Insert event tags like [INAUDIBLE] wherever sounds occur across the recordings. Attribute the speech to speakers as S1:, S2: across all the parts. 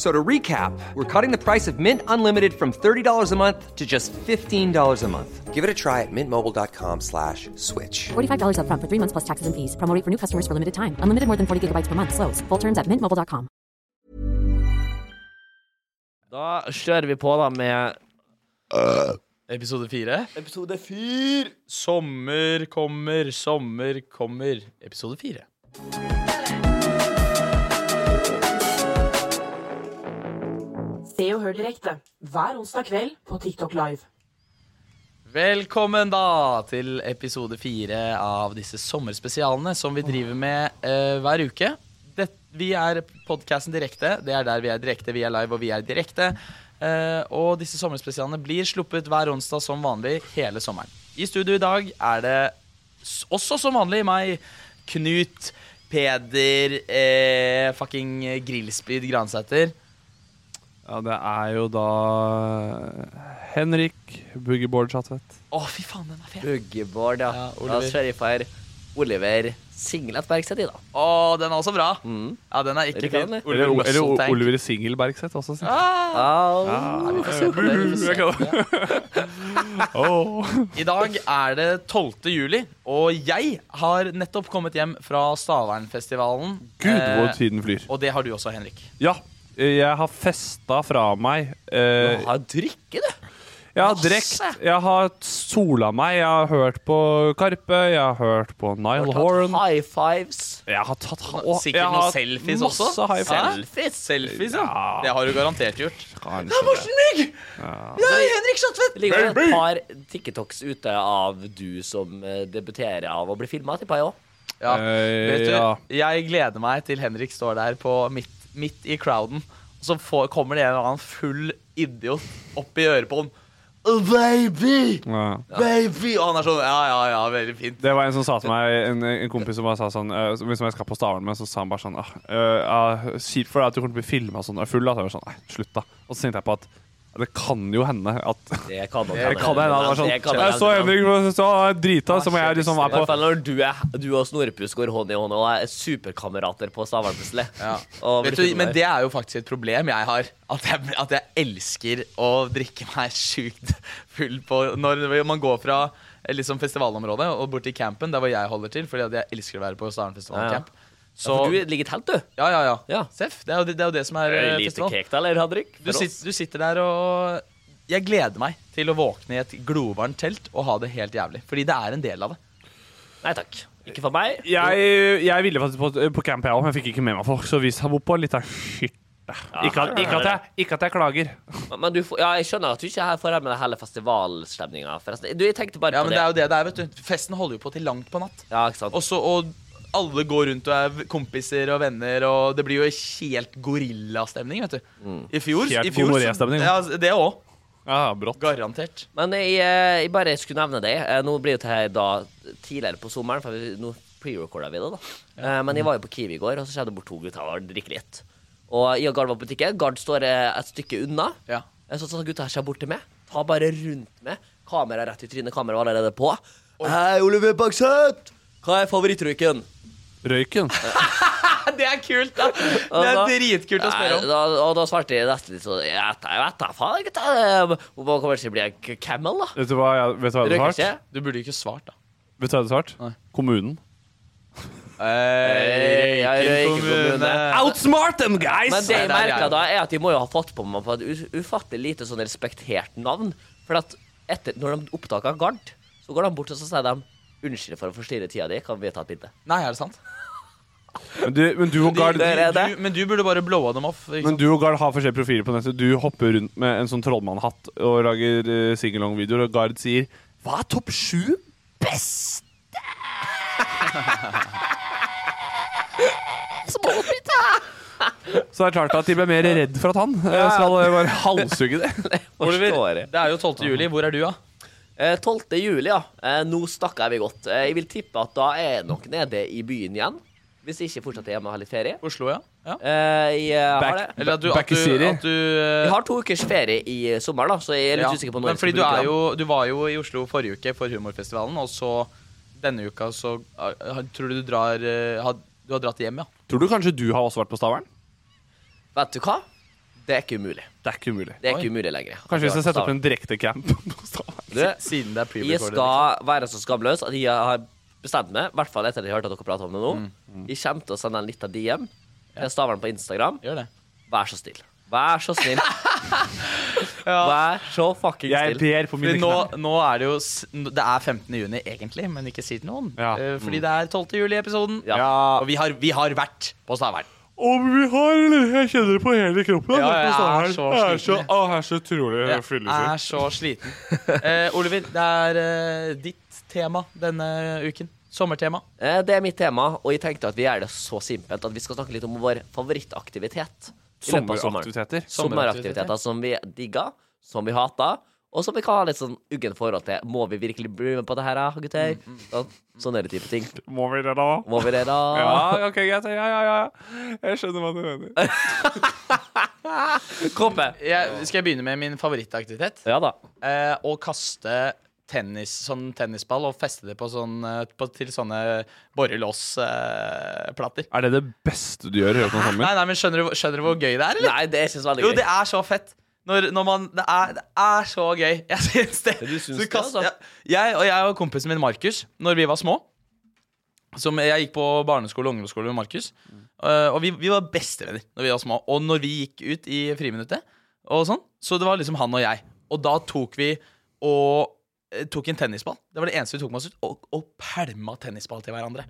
S1: So to recap, we're cutting the price of Mint Unlimited from $30 a month to just $15 a month. Give it a try at mintmobile.com slash switch.
S2: $45 upfront for three months plus taxes and fees. Promo rate for new customers for limited time. Unlimited more than 40 gigabytes per month. Slows. Full terms at mintmobile.com.
S3: Da kjører vi på da med
S4: Eh,
S3: Episode fire. Episode fyr! Sommer kommer, sommer kommer. Episode fire.
S5: Se og hør direkte hver onsdag kveld på TikTok Live.
S3: Velkommen da til episode fire av disse sommerspesialene som vi driver med eh, hver uke. Det, vi er podkasten direkte. Det er der vi er direkte. Vi er live, og vi er direkte. Eh, og disse sommerspesialene blir sluppet hver onsdag som vanlig hele sommeren. I studio i dag er det s- også som vanlig meg, Knut, Peder, eh, fucking Grillspyd Gransæter.
S4: Ja, det er jo da eh, Henrik Boogieboard Chatvet.
S3: Å, fy faen, den er fet!
S6: Boogieboard, ja.
S3: Ja,
S6: da
S3: Oliver.
S6: kjører jeg for Oliver Singlet Bergseth i, da.
S3: Å, den er også bra. Ja, den er
S6: Dere
S3: ikke
S6: kan
S3: fin.
S6: det.
S3: Oliver
S4: Eller, eller
S3: Russell
S4: O-
S3: Tank.
S4: Oliver Singelbergseth også. sikkert.
S3: Ah!
S6: Au.
S3: Jeg kan det.
S4: [LAUGHS] Åh.
S3: I dag er det 12. juli, og jeg har nettopp kommet hjem fra Stavernfestivalen.
S4: Gud, hvor
S3: Eh,
S4: tiden flyr.
S3: Og det har du også, Henrik.
S4: Ja, jeg har festa fra meg. Eh,
S3: har drikke, du.
S4: Jeg har drekt, jeg har sola meg, jeg har hørt på Karpe, jeg har hørt på Nile Horan.
S6: High fives.
S4: Jeg har tatt
S3: Nå-
S4: jeg
S3: Sikkert
S4: har
S3: noen
S4: hatt
S3: selfies
S4: masse
S3: også.
S4: high five.
S3: Selfies, selfies ja.
S4: Ja.
S3: Det har du garantert gjort.
S4: Kanskje
S3: Det er Morten Mygg! Det er Henrik Schatvedt!
S6: Det ligger jo et par TikToks ute av du som eh, debuterer av å bli filma, tipper jeg òg.
S3: Ja.
S4: Eh,
S3: Vet du,
S4: ja.
S3: jeg gleder meg til Henrik står der på midt, midt i crowden, og så får, kommer det en eller annen full idiot opp i øret på ham. Oh, baby!
S4: Ja.
S3: Baby! Og han er sånn Ja, ja, ja, veldig fint.
S4: Det var en som sa til meg En, en kompis som bare sa sånn eh, Som som jeg skal på Stavern med Så sa han bare sånn ah, eh, ah, Kjipt for deg at du kommer til å bli filmet sånn Og full da Så jeg var sånn Nei, slutt da Og så tenkte jeg på at Det kan jo hende at [LAUGHS] Det
S6: Det kan nok
S4: kan hende at det var sånn Jeg så Henrik Så han er drita Så må jeg liksom
S6: I
S4: være
S6: hvert
S4: på
S6: fall når du, er, du og Snorrepuss går hånd i hånd og er superkamerater på Stavern, plutselig.
S3: Ja.
S6: Og blir
S3: Vet du,
S6: filmet.
S3: men det er jo faktisk et problem jeg har. At jeg, at jeg elsker å drikke meg sjukt full på Når man går fra eh, liksom festivalområdet og bort til campen, der hvor jeg holder til, fordi at jeg elsker å være på
S6: Ja, ja.
S3: Stavernfestivalen camp.
S6: ja,
S3: Så Eh,
S6: for du ligger i telt, du.
S3: ja, ja, ja.
S6: Ja.
S3: Seff. Det er jo det, det, er jo det som er eh,
S6: Lite
S3: festival.
S6: cake, da, eller, Henrik?
S3: Du, sit, du sitter der og Jeg gleder meg til å våkne i et glovarmt telt og ha det helt jævlig. Fordi det er en del av det.
S6: Nei takk. Ikke for meg.
S4: jeg, jeg ville faktisk på, på camp jeg også Men jeg fikk ikke med meg folk Så vi sa på litt av shit ikke at, ikke, at jeg, ikke at jeg klager
S6: Men du får, ja, jeg skjønner at du ikke her får her med hele festivalstemninga, forresten. Du, jeg tenkte bare
S3: Ja,
S6: på
S3: men det er jo det det er, vet du. Festen holder jo på til langt på natt.
S6: Ja, ikke sant?
S3: Og så, og alle går rundt og er v- kompiser og venner, og det blir jo helt gorillastemning, vet du. I fjor,
S4: Helt
S3: i fjor så-
S4: gonoré-stemning,
S3: Ja, altså, det òg.
S4: Ja, brått
S3: Garantert. [LAUGHS]
S6: Men jeg, eh, jeg bare skulle nevne det. Eh, Nå blir jo det her da tidligere på sommeren, for vi, nå pre-recorda vi det, da. Eh, Men jeg var jo på Kiwi i går, og så skjedde det bort to gutter og drikke litt. Og jeg og Gard var på butikken. Gard står eh, et stykke unna.
S3: Ja.
S6: Eh, Så sånn gutta her seg bort til meg. Ta bare rundt meg. Kamera rett i trynet. Kamera var allerede på. Hei, Oliver Bakseth! Hva er favorittrøyken?
S4: Røyken
S3: det er kult, da! Det er
S6: Altså,
S3: dritkult å spørre
S6: Nei,
S3: om.
S6: Da, og da svarte jeg nesten litt sånn Jeg vet jeg vet da faen, gutt. Hvor mange kommer til å bli en k- camel, da?
S4: Vet du hva jeg, vet du hva jeg hadde
S6: Røykelse?
S4: svart?
S3: Du burde ikke svart, da.
S4: Vet du hva jeg hadde svart?
S3: Nei.
S4: Kommunen.
S3: Eh,
S6: Ja, Røyken kommune.
S4: Outsmart them, guys!
S6: Men det
S3: Nei,
S6: jeg
S3: der er
S6: merka
S3: jeg.
S6: da, er at de må jo ha fått på meg på et u- ufattelig lite sånn respektert navn. For at etter, når de oppdaga Gard, så går de bort og så sier de Unnskyld for å forstyrre tida di, kan vi ta et
S3: [LAUGHS]
S6: bilde?
S3: Nei, er det sant?
S4: Men du, men du og Gard
S6: Der er det.
S3: Du, men du burde bare blowa dem off. Ikke
S4: men
S3: sant?
S4: du og Gard har forskjellige profiler på nettet. Du hopper rundt med en sånn trollmannhatt og lager uh, singalong-videoer, og Gard sier Hva er topp sju beste?
S6: [LAUGHS]
S4: Så det er klart at de ble mer redd for at han eh, skal eh, bare halshugge
S3: [LAUGHS]
S4: det.
S6: Forstår jeg.
S3: Det er jo 12. juli. Hvor er du, da?
S6: Eh, 12. juli, ja. Eh, nå snakker vi godt. Eh, jeg vil tippe at da er jeg nok nede i byen igjen. Hvis jeg ikke fortsatt er hjemme og har litt ferie.
S3: Oslo, ja? ja.
S6: Eh, jeg, eh, har
S4: Back-
S6: det.
S3: Eller at du,
S4: Back
S3: at
S4: i
S3: du,
S4: Siri.
S3: at du eh,
S6: jeg har to ukers ferie i eh, sommer, da, så jeg er litt
S3: ja.
S6: usikker på når
S3: Men
S6: jeg skal
S3: fordi du,
S6: bruke
S3: er
S6: dem.
S3: jo, du var jo i Oslo forrige uke for humorfestivalen, og så denne uka så eh, tror du du drar eh, har- Du har dratt hjem, ja?
S4: Tror du kanskje du har også vært på Stavern?
S6: Vet du hva? Det er ikke umulig.
S4: Det er ikke umulig.
S6: Det er
S3: Oi.
S6: ikke umulig lenger.
S4: Kanskje vi skal sette opp en direktecamp [LAUGHS] på Stavern?
S6: Du,
S3: Siden det er
S6: Jeg
S3: pre-recorded. liksom.
S6: skal være så skamløs at jeg har bestemt meg, i hvert fall etter at jeg hørte at dere pratet om det nå, jeg kommer til å sende en liten DM til Stavern på Instagram.
S3: Gjør det.
S6: Vær så snill. Vær så snill. Vær så fucking
S4: Jeg
S6: snill.
S4: ber på mine
S3: Fordi nå,
S4: knær.
S3: nå er det jo s- Det er 15. juni egentlig, men ikke si til noen.
S4: Ja.
S3: Eh, Fordi det er 12. juli-episoden.
S6: Ja.
S3: Og vi har, vi har vært på Stavern.
S4: Om vi har Jeg kjenner det på hele kroppen.
S3: Ja, jeg er
S4: på Stavern.
S3: så
S4: Jeg er så,
S3: sliten, jeg.
S4: å, jeg er så utrolig
S3: Jeg
S4: fyllesyk.
S3: er så sliten. Eh, Oliver, det er eh, ditt tema denne uken. Sommertema.
S6: Eh, Det er mitt tema, og jeg tenkte at vi gjør det så simpelt at vi skal snakke litt om vår favorittaktivitet. i løpet av sommeren.
S4: Sommeraktiviteter.
S6: Sommeraktiviteter som vi digger, som vi hater, og som vi kan ha litt sånn uggen forhold til. Må vi virkelig bli med på det her, da, gutter? Sånn- Sånne type ting.
S4: Må vi det, da?
S6: Må vi det, da?
S4: Ja, ok, greit. Ja, ja, ja. ja. Jeg skjønner hva du mener.
S6: Kåpe.
S3: Jeg, skal jeg begynne med min favorittaktivitet?
S6: Ja da.
S3: Eh, å kaste tennis, sånn tennisball og feste det på sånn, eh, på, til sånne eh, borrelåsplater.
S4: Er det det beste du gjør i Høykomt
S3: nei,
S4: sommer?
S3: nei, men skjønner du, hvor- skjønner du hvor gøy det er, eller?
S6: Nei, det er ikke så veldig gøy.
S3: Jo, det er så fett. Når, når man, det, er, det er så gøy. [LAUGHS] Jeg syns det.
S6: Du syns
S3: Så
S6: det,
S3: kast-
S6: altså?
S3: ja. jeg, og jeg og kompisen min Markus, når vi var små som Jeg gikk på barneskole og ungdomsskole med Markus. eh, Og vi, vi var bestevenner når vi var små. Og når vi gikk ut i friminuttet, og sånn, så det var liksom han og jeg. Og da tok vi og eh, tok en tennisball. Det var det eneste vi tok med oss ut. Og, og pælma tennisball til hverandre.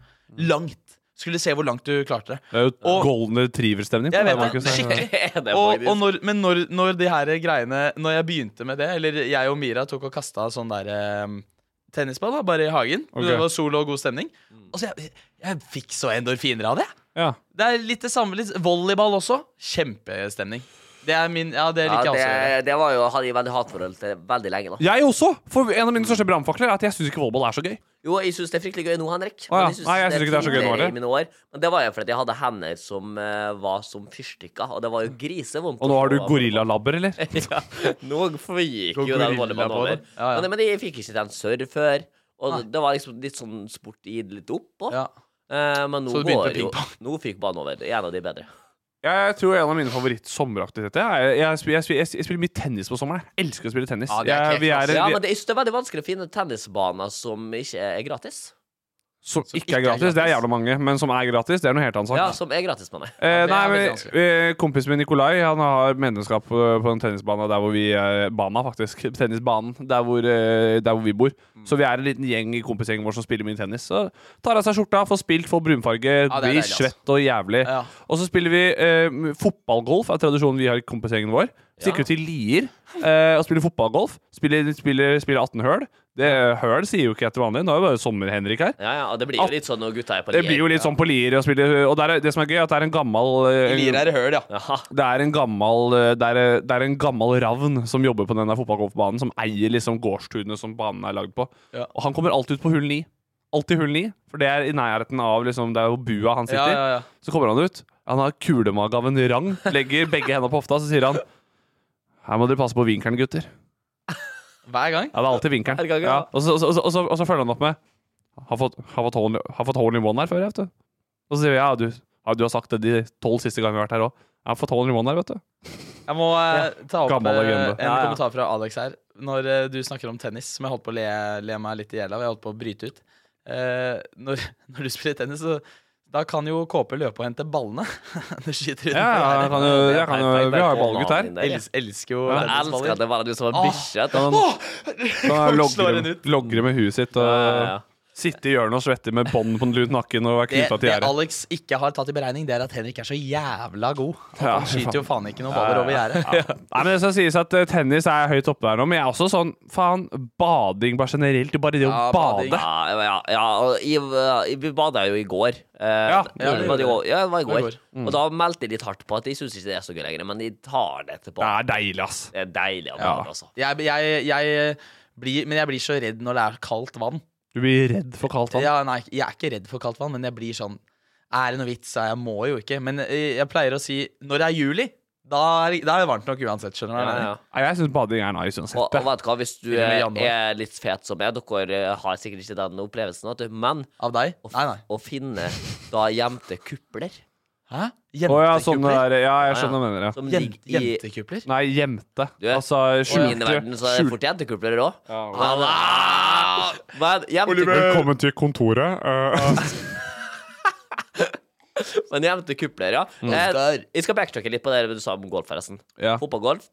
S3: Langt. Skulle se hvor langt du klarte det.
S4: Det er jo
S3: Og-
S4: golden retriever-stemning.
S3: [LAUGHS] Jeg
S4: på deg,
S3: vet det,
S4: Markus.
S3: skikkelig
S6: [LAUGHS] det er
S3: og,
S6: faktisk-
S3: og når, men når, når de her greiene Når jeg begynte med det, eller jeg og Mira tok og kasta sånn der eh, tennisball, da, bare i hagen.
S4: Ok.
S3: Det var sol og god stemning.
S6: Mm.
S3: Og så jeg, jeg fikk så endorfiner av det.
S4: Ja.
S3: Det er litt det samme. Litt volleyball også. Kjempestemning. Det er min Ja, det
S6: ja,
S3: liker jeg også.
S6: det, det var jo, hadde jeg veldig hatforhold til veldig lenge. da
S4: Jeg også! For en av mine største brannfakler er at jeg syns ikke volleyball er så gøy.
S6: Jo, jeg syns det er fryktelig gøy nå, Henrik.
S4: Å ja.
S6: synes
S4: Nei, jeg synes ikke det er så gøy nå,
S6: finere
S4: eller?
S6: i mine år. Men det var jo fordi jeg hadde hender som eh, var som fyrstikker, og det var jo grisevondt.
S4: Og nå har du
S6: å få-
S4: gorillalabber, eller?
S6: [LAUGHS] ja, nå gikk
S3: Gå
S6: jo den
S3: gorilla
S6: volleyballen
S3: på
S6: over.
S3: det. Ja, ja.
S6: Men, men jeg fikk ikke til en surr før. Og det var liksom litt sånn sport jeg gikk litt opp på.
S3: Ja.
S6: Eh, men nå
S3: Så du begynte
S6: går
S3: med
S6: jo
S3: pingpong?
S6: Nå fikk banen over. En av de bedre.
S4: [LAUGHS] Jeg tror en av mine favoritt-sommeraktiviteter er jeg, jeg, spiller- jeg, spiller- jeg spiller mye tennis på sommeren. Jeg elsker å spille tennis.
S3: Ja, det er
S4: jeg, vi
S3: kekt,
S4: er,
S3: ass.
S4: vi,
S6: Ja, men det, jeg synes det er veldig vanskelig å finne tennisbaner som ikke er gratis.
S4: som ikke er gratis. Det er jævla mange, men som er gratis, det er noe helt annet sak.
S6: Ja, som er gratis, mener jeg.
S4: Eh,
S3: Ja, det
S4: nei,
S3: er veldig
S4: men eh, Kompisen min Nikolai Han har medlemskap på, på den tennisbanen der hvor vi eh, Bana, faktisk. [LAUGHS] Tennisbanen. Der hvor, eh, der hvor vi bor.
S3: Mm.
S4: Så vi er en liten gjeng i kompisgjengen vår som spiller mye tennis. Så tar av seg skjorta, får spilt, får brunfarge,
S3: Ja, det er
S4: blir
S3: deilig, ass.
S4: svett og jævlig.
S3: Ja.
S4: Og så spiller vi eh, fotballgolf, er tradisjonen vi har i kompisgjengen vår. Stikker ut i Lier eh, og spiller fotballgolf. Spiller, spiller, spiller 18 høl. Det, høl sier jo ikke jeg til vanlig. Nå er det bare sommer-Henrik her.
S6: Ja, ja, og det blir jo litt sånn når gutta er på
S4: Det blir jo litt sånn på Lier å spille Og der er, det som er gøy, er at det er en gammel eh,
S3: Lier er høl, ja.
S6: Jaha.
S4: det er en gammel eh, Det er, det er en gammel ravn som jobber på den der fotballgolfbanen, som eier liksom gårdstunet som banen er lagd på.
S3: Ja.
S4: Og han kommer alltid ut på hull ni. Alltid hull ni, for det er i nærheten av liksom, Det er jo bua han
S3: Ja,
S4: sitter i.
S3: ja, ja.
S4: Så kommer han ut. Han har kulemage av en rang. Legger begge hendene på hofta, så sier han her må dere passe på vinkelen, gutter.
S3: Hver gang.
S4: Ja, det er alltid
S6: Hver gang,
S4: vinkelen.
S6: ja.
S4: Ja, og, så, og, så, og, så, og, så, og så følger han opp med Har fått, har fått hole in- har fått hole in one her før, jeg vet du. Og så sier vi ja, du. Ja, du har sagt det de tolv siste gangene vi har vært her òg. Jeg får 1200 i måneden her, vet du.
S3: Jeg må eh, ta opp
S4: Gammel
S3: eh,
S4: legende.
S3: en
S4: Ja, ja.
S3: kommentar fra Alex her. Når eh, du snakker om tennis, som jeg holdt på å le, le meg litt i hjel av, jeg holdt på å bryte ut Eh, når, [LAUGHS] når du spiller tennis, så da kan jo KP løpe og hente ballene. [LAUGHS] det skyter utenfor
S4: Ja, ja, jeg kan jo, jeg kan jo, vi har jo ballgutt her.
S3: Jeg elsker, elsker jo
S6: Jeg elsker at det var du som var
S3: Åh.
S6: bikkje.
S4: Kan
S6: etter-
S4: han, kan han
S3: Folk slår
S4: logre,
S3: henne ut.
S4: logre med huet sitt og
S6: Ja, ja, ja.
S4: sitte i hjørnet og svette med bånd på den lune nakken og være
S3: Det,
S4: knytta til
S3: det
S4: gjerdet.
S3: Alex ikke har tatt i beregning, det er at Henrik er så jævla god. At
S4: Ja,
S3: han
S4: fy
S3: skyter jo faen ikke noen baller over gjerdet.
S4: Nei, men Det skal sies at eh, tennis er høyt oppe der nå, men jeg er også sånn faen Bading bare generelt. Bare det å
S3: Ja, bading.
S4: bade.
S6: Ja, ja, ja, og i- øh, Vi bada jo i går. Eh,
S4: Ja,
S6: det
S3: vi
S6: var det
S3: gjorde
S6: jo- ja, det var i
S3: Det var i
S6: går.
S3: går. Mm.
S6: Og da meldte de litt hardt på at de syns ikke det er så gøy lenger, men de tar det
S4: Det
S6: tilbake.
S4: er deilig, ass.
S6: Det er deilig å
S4: Ja.
S6: bade, altså.
S3: Jeg, jeg, jeg blir, men jeg blir så redd når det er kaldt vann.
S4: Du blir redd for kaldt vann.
S3: Ja, nei, jeg er ikke redd for kaldt vann, men jeg blir sånn Er det noe vits? Ja, Jeg må jo ikke. Men eh, jeg pleier å si når det er juli, da er, da er det varmt nok uansett. Skjønner du? hva jeg
S6: Ja,
S3: mener?
S6: ja.
S4: Nei, Jeg syns bading er nice
S6: Og,
S4: uansett.
S6: og vet du hva, hvis du
S3: Til og med i
S6: eh,
S3: januar.
S6: er litt fet som jeg, dere eh, har sikkert ikke den opplevelsen, vet du, men
S3: Av deg?
S6: å, f-
S3: Nei, nei.
S6: å finne da gjemte kupler
S3: Hæ?
S4: Å ja, sånn det
S3: Jentekupler?
S4: der. Ja,
S6: Ja,
S4: jeg skjønner hva du mener. Ja.
S6: som
S3: Jen-
S6: ligger i
S3: Jentekupler?
S4: Nei, gjemte.
S6: Du vet,
S4: Altså
S6: I min verden så er det
S4: skjulte.
S6: fort jentekupler òg.
S4: Ja.
S6: Men, ah, men jentekupler,
S4: Velkommen til kontoret.
S6: men jentekupler, ja. Eh, jeg skal backtracke litt på det du sa om golf, forresten.
S4: Mm. ja.
S6: Fotballgolf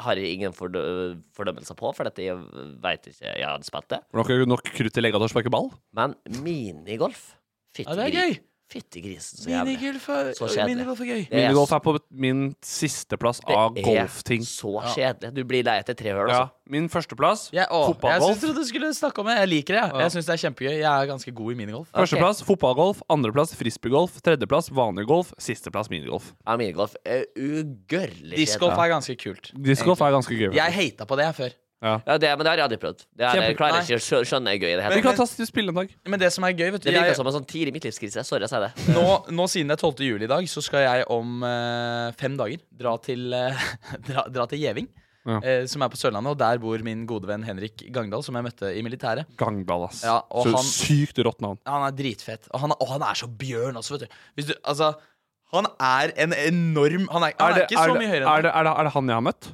S6: har jeg ingen fordø fordømmelser på, for dette jeg veit ikke jeg hadde spilt det.
S4: Hvordan kan du [LAUGHS] nok krutt i legga til å sparke ball?
S6: Men minigolf
S3: Ja, det er
S6: gri-
S3: gøy.
S6: Fytti grisen, så jævlig.
S3: Minigolf er,
S6: Så kjedelig.
S3: minigolf er gøy.
S6: Det er
S4: Minigolf er på min sisteplass av
S6: Det er
S4: golfting.
S6: Så kjedelig. Du blir lei etter tre høl,
S4: Ja,
S6: altså.
S4: min førsteplass
S3: Jeg, å, jeg synes
S4: fotballgolf.
S3: trodde du skulle snakke om det. Jeg liker det. Jeg, jeg syns det er kjempegøy. Jeg er ganske god i minigolf.
S4: Førsteplass fotballgolf, andreplass frisbeegolf, tredjeplass vanlig golf, sisteplass minigolf.
S6: Ja, minigolf er ugjørlig
S3: Discgolf
S6: kjedelig.
S3: er ganske kult.
S4: Discgolf er ganske gøy.
S3: Jeg hata på det før.
S6: Ja, det, men det har jeg aldri prøvd. Det er, jeg
S3: Kjempe-
S6: klarer
S3: Nei.
S6: ikke å skjø- skjønne er gøy i det
S4: Vi
S6: hele
S4: kan
S6: tatt.
S4: ta spille en dag.
S3: Men det som er gøy, vet du
S6: Det virker
S3: jeg,
S6: som en sånn tidlig midtlivskrise. Sorry, jeg sier det.
S3: nå, nå siden det er 12. juli i dag, så skal jeg om eh, fem dager dra til, eh, [LAUGHS] dra, dra til Gjeving.
S4: Ja.
S3: eh, som er på Sørlandet, og der bor min gode venn Henrik Gangdal, som jeg møtte i militæret.
S4: Gangdal, ass.
S3: Ja, og
S4: så
S3: han-
S4: sykt rått navn.
S3: Han er dritfett. Og han er, og han er så bjørn også, vet du. Hvis du altså, han er en enorm Han er, han er, ikke så mye høyere
S4: er,
S3: enn
S4: det, er, det, er det han jeg har møtt?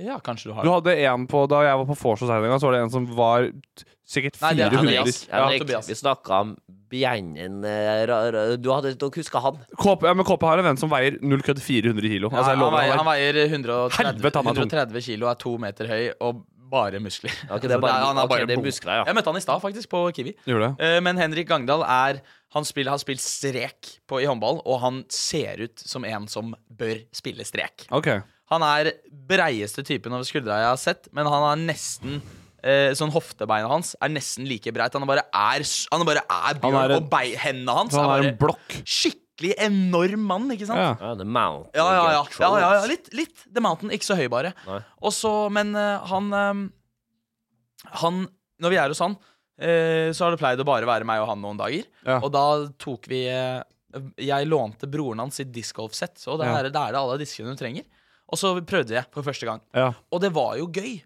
S3: Ja, kanskje du har
S4: Du hadde en på Da jeg var på Forsos her en gang, så var det en som var t- sikkert
S3: Nei, det er
S4: 400
S6: Henrik,
S3: Ja,
S6: Henrik,
S3: Tobias.
S6: vi snakka om Bjernen eh, ra- ra- Du hadde, dere husker han?
S4: KP, ja, men KP har en venn som veier 0 kødd 400 kilo.
S3: Ja,
S4: Altså, jeg
S3: han,
S4: lover
S3: veier,
S4: deg,
S3: han
S4: han er-
S3: veier 130,
S4: Helvete, han er tung.
S3: 130 kilo, er to meter høy og bare muskler.
S6: Ok, det er
S3: Så
S6: bare,
S3: han er
S6: ok,
S3: bare
S6: det er
S3: bom.
S6: muskler, ja.
S3: Jeg møtte han i stad, faktisk, på Kiwi.
S4: Gjorde det?
S3: Eh, Men Henrik Gangdal er Han spiller, har spilt strek på, i håndball, og han ser ut som en som bør spille strek.
S4: Ok.
S3: Han er breieste typen over skuldra jeg har sett, men han er nesten eh, Sånn hoftebeina hans er nesten like breit. Han bare er, s- han bare er bjørn,
S4: Han er en-
S3: og bei, hendene hans
S4: Så han er
S3: er
S4: en
S3: bare
S4: blokk.
S3: skikkelig enorm mann, ikke sant?
S4: Ja.
S6: Ja, The Mount.
S3: Ja, ja, ja. ja,
S6: Control.
S3: ja, ja. Litt, litt The Mountain. Ikke så høy, bare.
S6: Nei.
S3: Og så, men eh, han eh, Han Når vi er hos han, eh, så har det pleid å bare være meg og han noen dager.
S4: Ja.
S3: Og da tok vi eh, Jeg lånte broren hans sitt discgolfsett, så det
S4: Ja.
S3: er, det er det alle diskene du trenger. Og så prøvde jeg for første gang.
S4: Ja.
S3: Og det var jo gøy.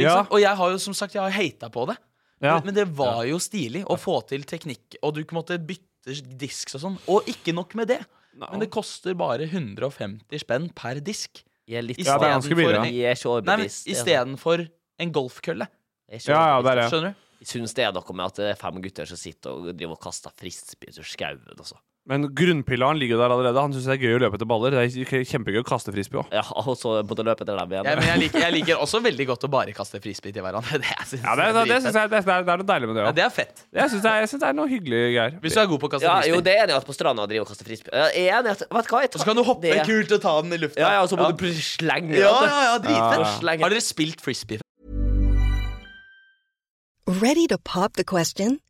S3: Ikke
S4: Ja.
S3: sant? Og jeg har jo som sagt Jeg har hata på det.
S4: ja.
S3: Men det var jo stilig å få til teknikk, og du måtte bytte disk og sånn. Og ikke nok med det. Men det koster bare 150 spenn per disk.
S6: Jeg er litt
S3: I
S4: Ja, det
S3: stedet
S4: er
S3: for
S4: ganske billig,
S3: en-
S4: ja.
S6: Jeg er
S3: Nei,
S6: ikke
S3: men
S6: overbevist. altså.
S3: Istedenfor en golfkølle.
S6: Jeg er ikke
S4: ja, ja,
S6: overbevist.
S4: det er det.
S3: Skjønner du?
S6: Jeg syns det er noe med at det er fem gutter som sitter og driver og kaster frisbee ut av skauen. Altså.
S4: Men grunnpillaren ligger jo der allerede. Han syns det er gøy å løpe etter baller. Det er k- kjempegøy å kaste frisbee òg.
S6: Ja, og så måtte løpe etter dem igjen.
S3: Ja, men jeg, liker, jeg liker også veldig godt å bare kaste frisbee til hverandre. [LAUGHS] Det synes
S4: Ja, det,
S3: jeg
S4: det, det,
S3: dritfett.
S4: synes jeg- det, det, er- det er noe deilig med det
S3: ja,
S4: òg.
S3: det er fett.
S4: Jeg syns det, er- jeg synes det er noe hyggelig greier.
S3: Hvis du er god på å kaste
S6: Ja,
S3: frisbee.
S6: jo, det er enig at på stranda driver og kaster frisbee. Ja, Jeg er enig at, vet du hva, jeg tar
S3: Så kan du hoppe
S6: det.
S3: kult og ta den i lufta.
S6: Ja, ja, og så må du plutselig slenge
S3: ja,
S6: vet du.
S3: ja, ja, dritfett.
S6: Ja, ja.
S3: Har dere spilt frisbee?
S7: Ready to pop the question?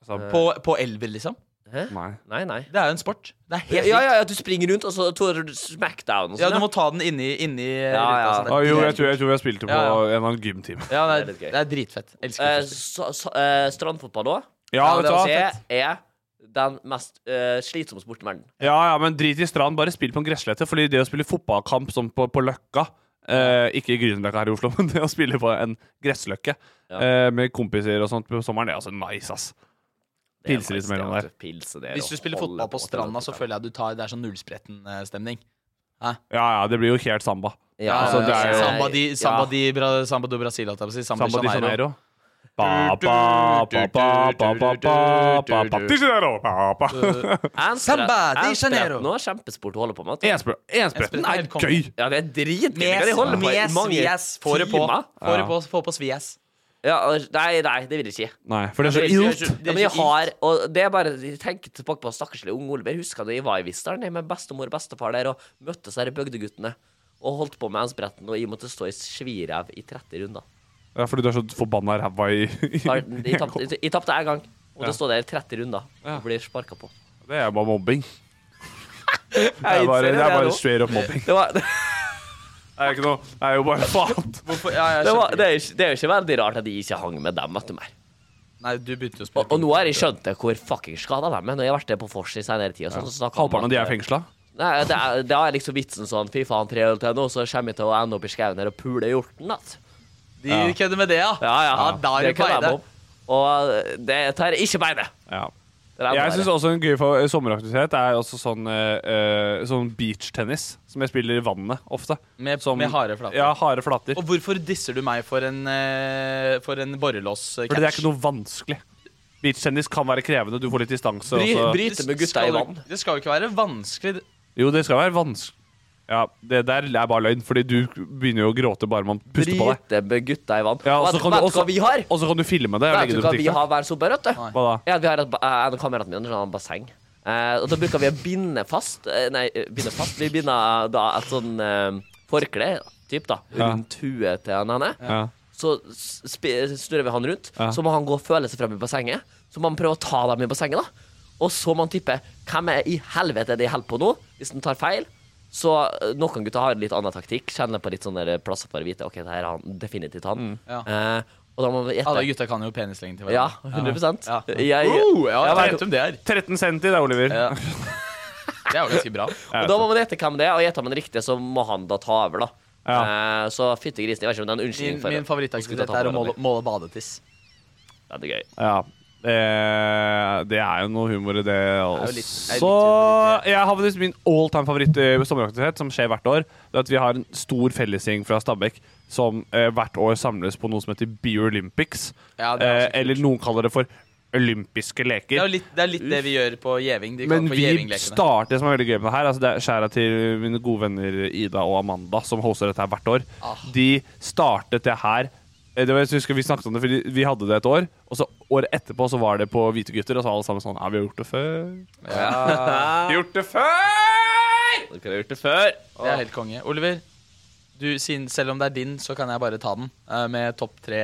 S4: Altså,
S3: På, på elbil, liksom.
S6: Hæ?
S4: Nei.
S6: Nei, nei.
S3: Det er jo en sport. Det er
S6: Ja,
S3: helt
S6: ja, ja, du springer rundt, og så tar du smackdown. Og
S3: Ja,
S6: sånn,
S3: du må ta den inni, inni
S6: ja.
S3: ruta, sånn.
S4: Å, jo, jeg tror, jeg tror vi har spilt det på
S3: Ja, ja.
S4: en eller annen gymtime.
S3: Ja, det er,
S6: Det er litt gøy.
S3: det er dritfett. Elsker
S6: Eh,
S3: det.
S6: så, så, eh, strandfotball òg.
S4: Ja, vet du hva?
S6: det er den mest eh, slitsomme sporten i verden.
S4: Ja, ja, men drit i strand, bare spill på en gresslette. Fordi det å spille fotballkamp som på, på Løkka eh, Ikke Grünerløkka her i Oslo, [LAUGHS] men det å spille på en gressløkke eh, med kompiser og sånt på sommeren, det er altså nice, ass.
S6: Det er
S4: Pilser litt
S6: faktisk det
S4: mellom
S6: at
S4: der.
S6: du pilser der
S3: Hvis du
S6: og
S3: spiller
S6: holder
S3: fotball på
S6: til
S3: stranda,
S6: det.
S3: så føler jeg du tar Det er sånn nullspretten-stemning.
S4: Ja, ja, det blir jo helt samba.
S6: ja,
S4: altså, det er jo-
S3: Eh, Samba di, samba di Bra, samba do Brasil, holdt jeg på å si. Samba,
S4: Samba di Janeiro.
S3: Ba, ba, ba, ba, ba, ba, ba, ba, ba, di
S4: [LAUGHS]
S3: Samba di Janeiro.
S6: Nå er kjempesport å holde på med. vet du.
S4: Enspretten er
S3: Helt konge.
S4: gøy!
S6: Ja, det er dritgøy.
S3: Med,
S6: De holder på i
S3: med
S6: mange
S3: svies. Få det på.
S6: timer.
S3: Få det på, få på svies.
S6: Ja, nei, nei, det vil jeg ikke.
S4: Nei, for det er
S3: Det er
S4: så
S3: ikke-
S4: ilt.
S6: Ja, men jeg har Og det er bare Jeg tenker tilbake på stakkars lille unge Oliver. Husker da jeg var i Visteren jeg med bestemor og bestefar der og møtte disse her bygdeguttene og holdt på med ensbretten, og jeg måtte stå i svirev i 30
S4: [LAUGHS]
S6: runder.
S4: Ja, fordi du er så forbanna ræva i
S6: Har- Jeg tapte- jeg- jeg tapte én gang. Og det står der i 30 runder og blir sparka på.
S4: Det er bare mobbing. Det
S6: Jeg
S4: er
S6: innser
S4: bare,
S6: det,
S4: det er
S6: jeg
S4: bare
S6: nå.
S4: straight up mobbing.
S6: det, var, [LAUGHS]
S4: Det er ikke noe Det er jo bare [LAUGHS] faen.
S3: Hvorfor? Ja, jeg
S6: det, var,
S3: skjønner
S6: det, er jo ikke, det er jo ikke veldig rart at jeg ikke hang med dem. Vet du mer.
S3: ikke. Nei, du begynte jo å spille.
S6: Og, og nå har jeg skjønt det hvor fucking skada de er. Når jeg har vært der på vors i senere tid. og sånn, så snakker de om
S4: Halvparten av de
S6: at-
S4: er fengsla.
S6: Nei, det er, det er liksom vitsen sånn Fy faen, tre øl til nå, så kommer jeg til å ende opp i skauen her og pule hjorten. ass.
S3: De kødder med det, ja. da er
S6: Det
S3: det
S6: kan jeg
S3: beide.
S6: med om. Og det tar jeg ikke beine.
S4: Ja.
S6: Det er
S4: Jeg
S6: bare-
S4: syns også en gøy for, sommeraktivitet er også sånn, eh, eh, sånn beach-tennis. Som jeg spiller i vannet ofte.
S3: Med-
S4: som,
S3: med harde flater.
S4: Ja, harde flater.
S3: Og hvorfor disser du meg for en, eh, for en eh, borrelås-catch?
S4: Fordi det er ikke noe vanskelig. Beach-tennis kan være krevende. Du får litt distanse.
S6: Bry-
S4: og så-
S6: bryt- Bryte med gutta i vann.
S3: Det skal jo ikke være vanskelig.
S4: Jo, det skal være vanskelig. Ja, det der er bare løgn, fordi du begynner jo å gråte bare man puster på deg.
S6: Drite med gutta i vann.
S4: Ja, og
S6: vet
S4: så
S6: vet
S4: kan du
S6: du
S4: også-
S6: hva vi har?
S4: Og så kan du filme det. og
S6: Vet du
S4: legge det ut
S6: hver
S4: på
S6: vi har
S4: TikTok.
S6: hver sommer, vet du?
S4: Hva da?
S6: Ja, vi har et, ba- eh, en av kameratene mine har et basseng. Eh, og da bruker vi å binde fast eh, Nei, eh, binde fast. Vi binder da et sånn eh, forkle typ da,
S4: Ja.
S6: rundt huet til han henne.
S4: Ja.
S6: Så s- spi- snurrer vi han rundt.
S4: Ja.
S6: Så må han gå og føle seg frem i bassenget. Så må han prøve å ta dem i bassenget. da Og så må han tippe hvem er i helvete det jeg holder på nå, hvis han tar feil. Så eh, noen gutter har litt annen taktikk. Kjenner på litt sånne der plasser for å vite Ok, det her er han, definitivt han.
S4: Mm.
S6: Eh, og da må vi gjette.
S3: Alle gutta kan jo penislenge til
S6: Ja, 100
S3: Ja.
S6: Jeg, jeg,
S3: Oh, ja, jeg
S6: jeg-
S3: vet om det er.
S4: 13 centi, det, Oliver.
S3: Ja. Det er jo ganske bra.
S4: Jeg
S6: Og da
S4: vet det.
S6: må man gjette hvem det er, og gjetter man riktig, så må han da ta over, da. Eh, så fytti grisen, jeg vet ikke om det er en
S3: Min,
S6: unnskyldning for
S3: min
S6: Skal
S3: favorittaktivitet
S6: vi ta
S3: er å
S6: på
S3: måle,
S6: hverandre?
S3: måle badetiss.
S6: Ja, det er gøy.
S4: Ja. Eh, det er jo noe humor i det
S3: jo
S4: også.
S3: litt- det er litt
S4: Så
S3: humor i
S4: jeg har faktisk min all time favoritt eh, sommeraktivitet, som skjer hvert år. Det er at Vi har en stor fellesgjeng fra Stabekk som eh, hvert år samles på noe som heter Beer Olympics.
S3: Ja, det er
S4: eh,
S3: også kult.
S4: eller noen kaller det for olympiske leker.
S3: Det er jo litt det, er litt det vi gjør på Gjeving. De kaller
S4: Men
S3: det for
S4: vi
S3: Gjevinglekene.
S4: starter det som er veldig gøy med det her. Altså det er skjæra til mine gode venner Ida og Amanda, som hoster dette her hvert år.
S3: Ah.
S4: De startet det her eh, det var, jeg husker Vi snakket om det, fordi vi hadde det et år. Og så året etterpå så var det på Hvite gutter, og så var alle sammen sånn Ja, vi har gjort det før. [LAUGHS] Vi har gjort det før!
S6: Dere har gjort det før.
S3: Det er helt konge. Oliver, du, siden, selv om det er din, så kan jeg bare ta den eh, med topp tre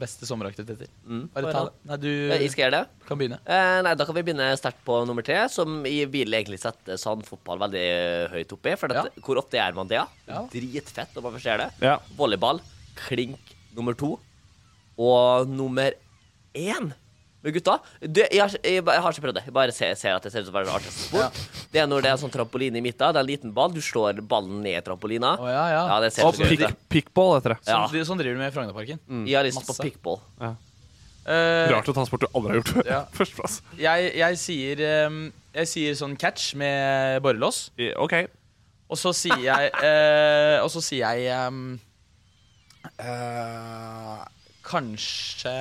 S3: beste sommeraktiviteter. Bare ta
S6: bare
S3: den. Nei, du
S6: Jeg skal gjøre det.
S3: kan begynne.
S6: Eh, nei, da kan vi begynne sterkt på nummer tre, som i vil egentlig sette sandfotball veldig høyt oppi. For at, hvor ofte gjør man det?
S3: Ja.
S6: Dritfett når man først gjør det.
S4: Ja.
S6: Volleyball, klink nummer to. Og nummer én med gutta. Det, jeg, har- jeg, bare- jeg har ikke prøvd det. Jeg bare ser, ser at det ser ut som verdens artigste sport. Det er når det er sånn trampoline i midten. Det er en liten ball. Du slår ballen ned i trampolina.
S3: ja, ja.
S6: det ser
S4: Og
S6: så gøy ut.
S4: pick, mm. pickball heter det.
S6: Ja.
S3: Sånn, sånn driver du med i Frognerparken.
S6: Jeg har lyst på
S3: Masse.
S6: pickball.
S4: Ja.
S3: Eh,
S4: Rart å ta en sport du aldri har gjort. [LAUGHS]
S3: Ja.
S4: Førsteplass.
S3: jeg, jeg, sier, ehm, jeg sier sånn catch med borrelås.
S4: I- OK.
S3: Og så sier
S4: [LAUGHS]
S3: jeg eh, Og så sier jeg ehm, eh, Kanskje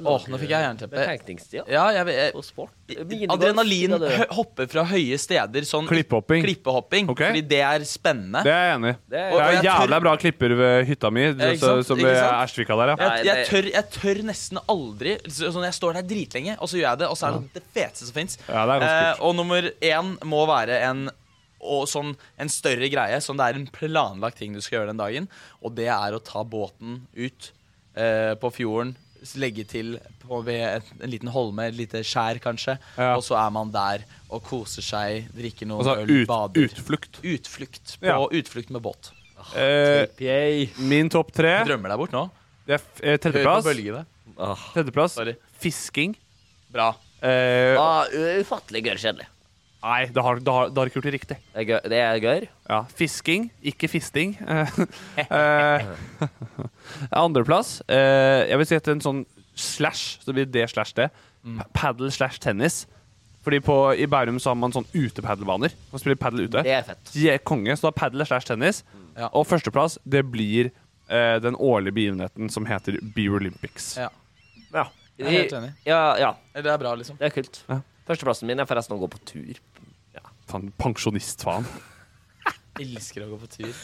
S3: Åh, nå fikk jeg jernteppe.
S6: Betenkningstid
S3: Ja, jeg, vet-
S6: på sport.
S3: jeg,
S6: Minigolf,
S3: adrenalin
S6: sier du.
S3: hø- hopper fra høye steder. Sånn
S4: Klippehopping.
S3: klippehopping
S4: Ok.
S3: Fordi det er spennende.
S4: Det er jeg enig i. Det
S6: er-
S4: er,
S3: Og jeg tør-
S4: jævla bra klipper ved hytta mi,
S3: ikke
S4: så,
S3: sant?
S4: som
S3: Ikke
S4: ved
S3: sant?
S4: Ersvika der, ja.
S3: Jeg,
S6: Nei,
S3: jeg,
S6: det-
S3: tør, jeg tør nesten aldri så- sånn, Jeg står der dritlenge, og så gjør jeg det, og så er det det feteste som fins.
S4: Ja, det er ganske kult.
S3: og nummer én må være en og sånn en større greie. Sånn det er en planlagt ting du skal gjøre den dagen. Og det er å ta båten ut eh, på fjorden, s- legge til på, ved et, en liten holme, et lite skjær kanskje,
S4: Ja.
S3: og så er man der og koser seg, drikker noen
S4: Altså
S3: øl,
S4: ut,
S3: bader.
S4: utflukt.
S3: Utflukt. På
S4: Ja.
S3: utflukt med båt.
S4: Eh, min topp tre
S3: Drømmer deg bort nå.
S4: Det er f- eh,
S3: Hør på
S4: tredjeplass.
S3: bølgene.
S4: Tredjeplass
S3: Sorry.
S4: fisking.
S3: Bra.
S4: Eh,
S6: Ah, u- ufattelig gørr kjedelig.
S4: nei, det har, det, har, det har ikke gjort det riktig.
S6: Det er gøy- Det er gørr.
S4: Ja, Fisking, ikke fisting. [LAUGHS] Eh, eh, Andreplass. eh, jeg vil si at en sånn slash, så det blir det slash det. Pa- Paddle slash tennis. Fordi på, i Bærum så har man sånn utepaddelbaner. Man spiller paddel ute.
S6: Det er fett.
S4: De er konge, så da paddle slash tennis.
S3: Ja.
S4: Og førsteplass, det blir eh, den årlige begivenheten som heter Beer Olympics.
S3: Ja.
S4: Ja.
S3: Jeg er helt enig.
S6: Ja, ja.
S3: Det er bra, liksom.
S6: Det er kult.
S4: Ja.
S6: Førsteplassen min er forresten å gå på tur.
S4: Faen, pensjonist, faen.
S3: Elsker å gå på tur.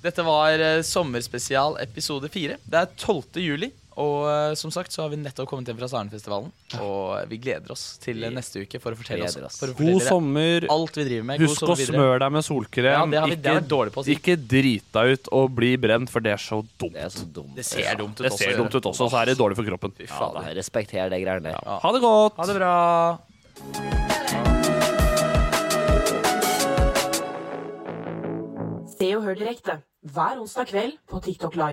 S3: Dette var eh, sommerspesial episode fire. Det er 12. juli, og eh, som sagt så har vi nettopp kommet hjem fra Sarnfestivalen. Og eh, vi gleder oss til eh, neste uke for å fortelle
S6: Gleder
S3: oss
S6: oss.
S3: for å
S4: God
S3: fortelle
S4: sommer.
S3: alt vi driver med. God
S4: Husk å
S3: sommer videre.
S4: smøre deg med solkrem.
S3: Ja, det har vi- det har vi vært
S4: ikke,
S3: dårlig på å si.
S4: ikke drita ut og bli brent, for det er så dumt.
S6: Det er så dumt.
S3: Det ser dumt ut
S4: Det
S3: også.
S4: ser dumt ut også, og så er det dårlig for kroppen.
S3: Fy
S6: Ja,
S3: fader.
S6: da, respekter de greiene der.
S4: Ha det godt!
S3: Ha det bra.
S5: Se og hør direkte hver onsdag kveld på TikTok Live.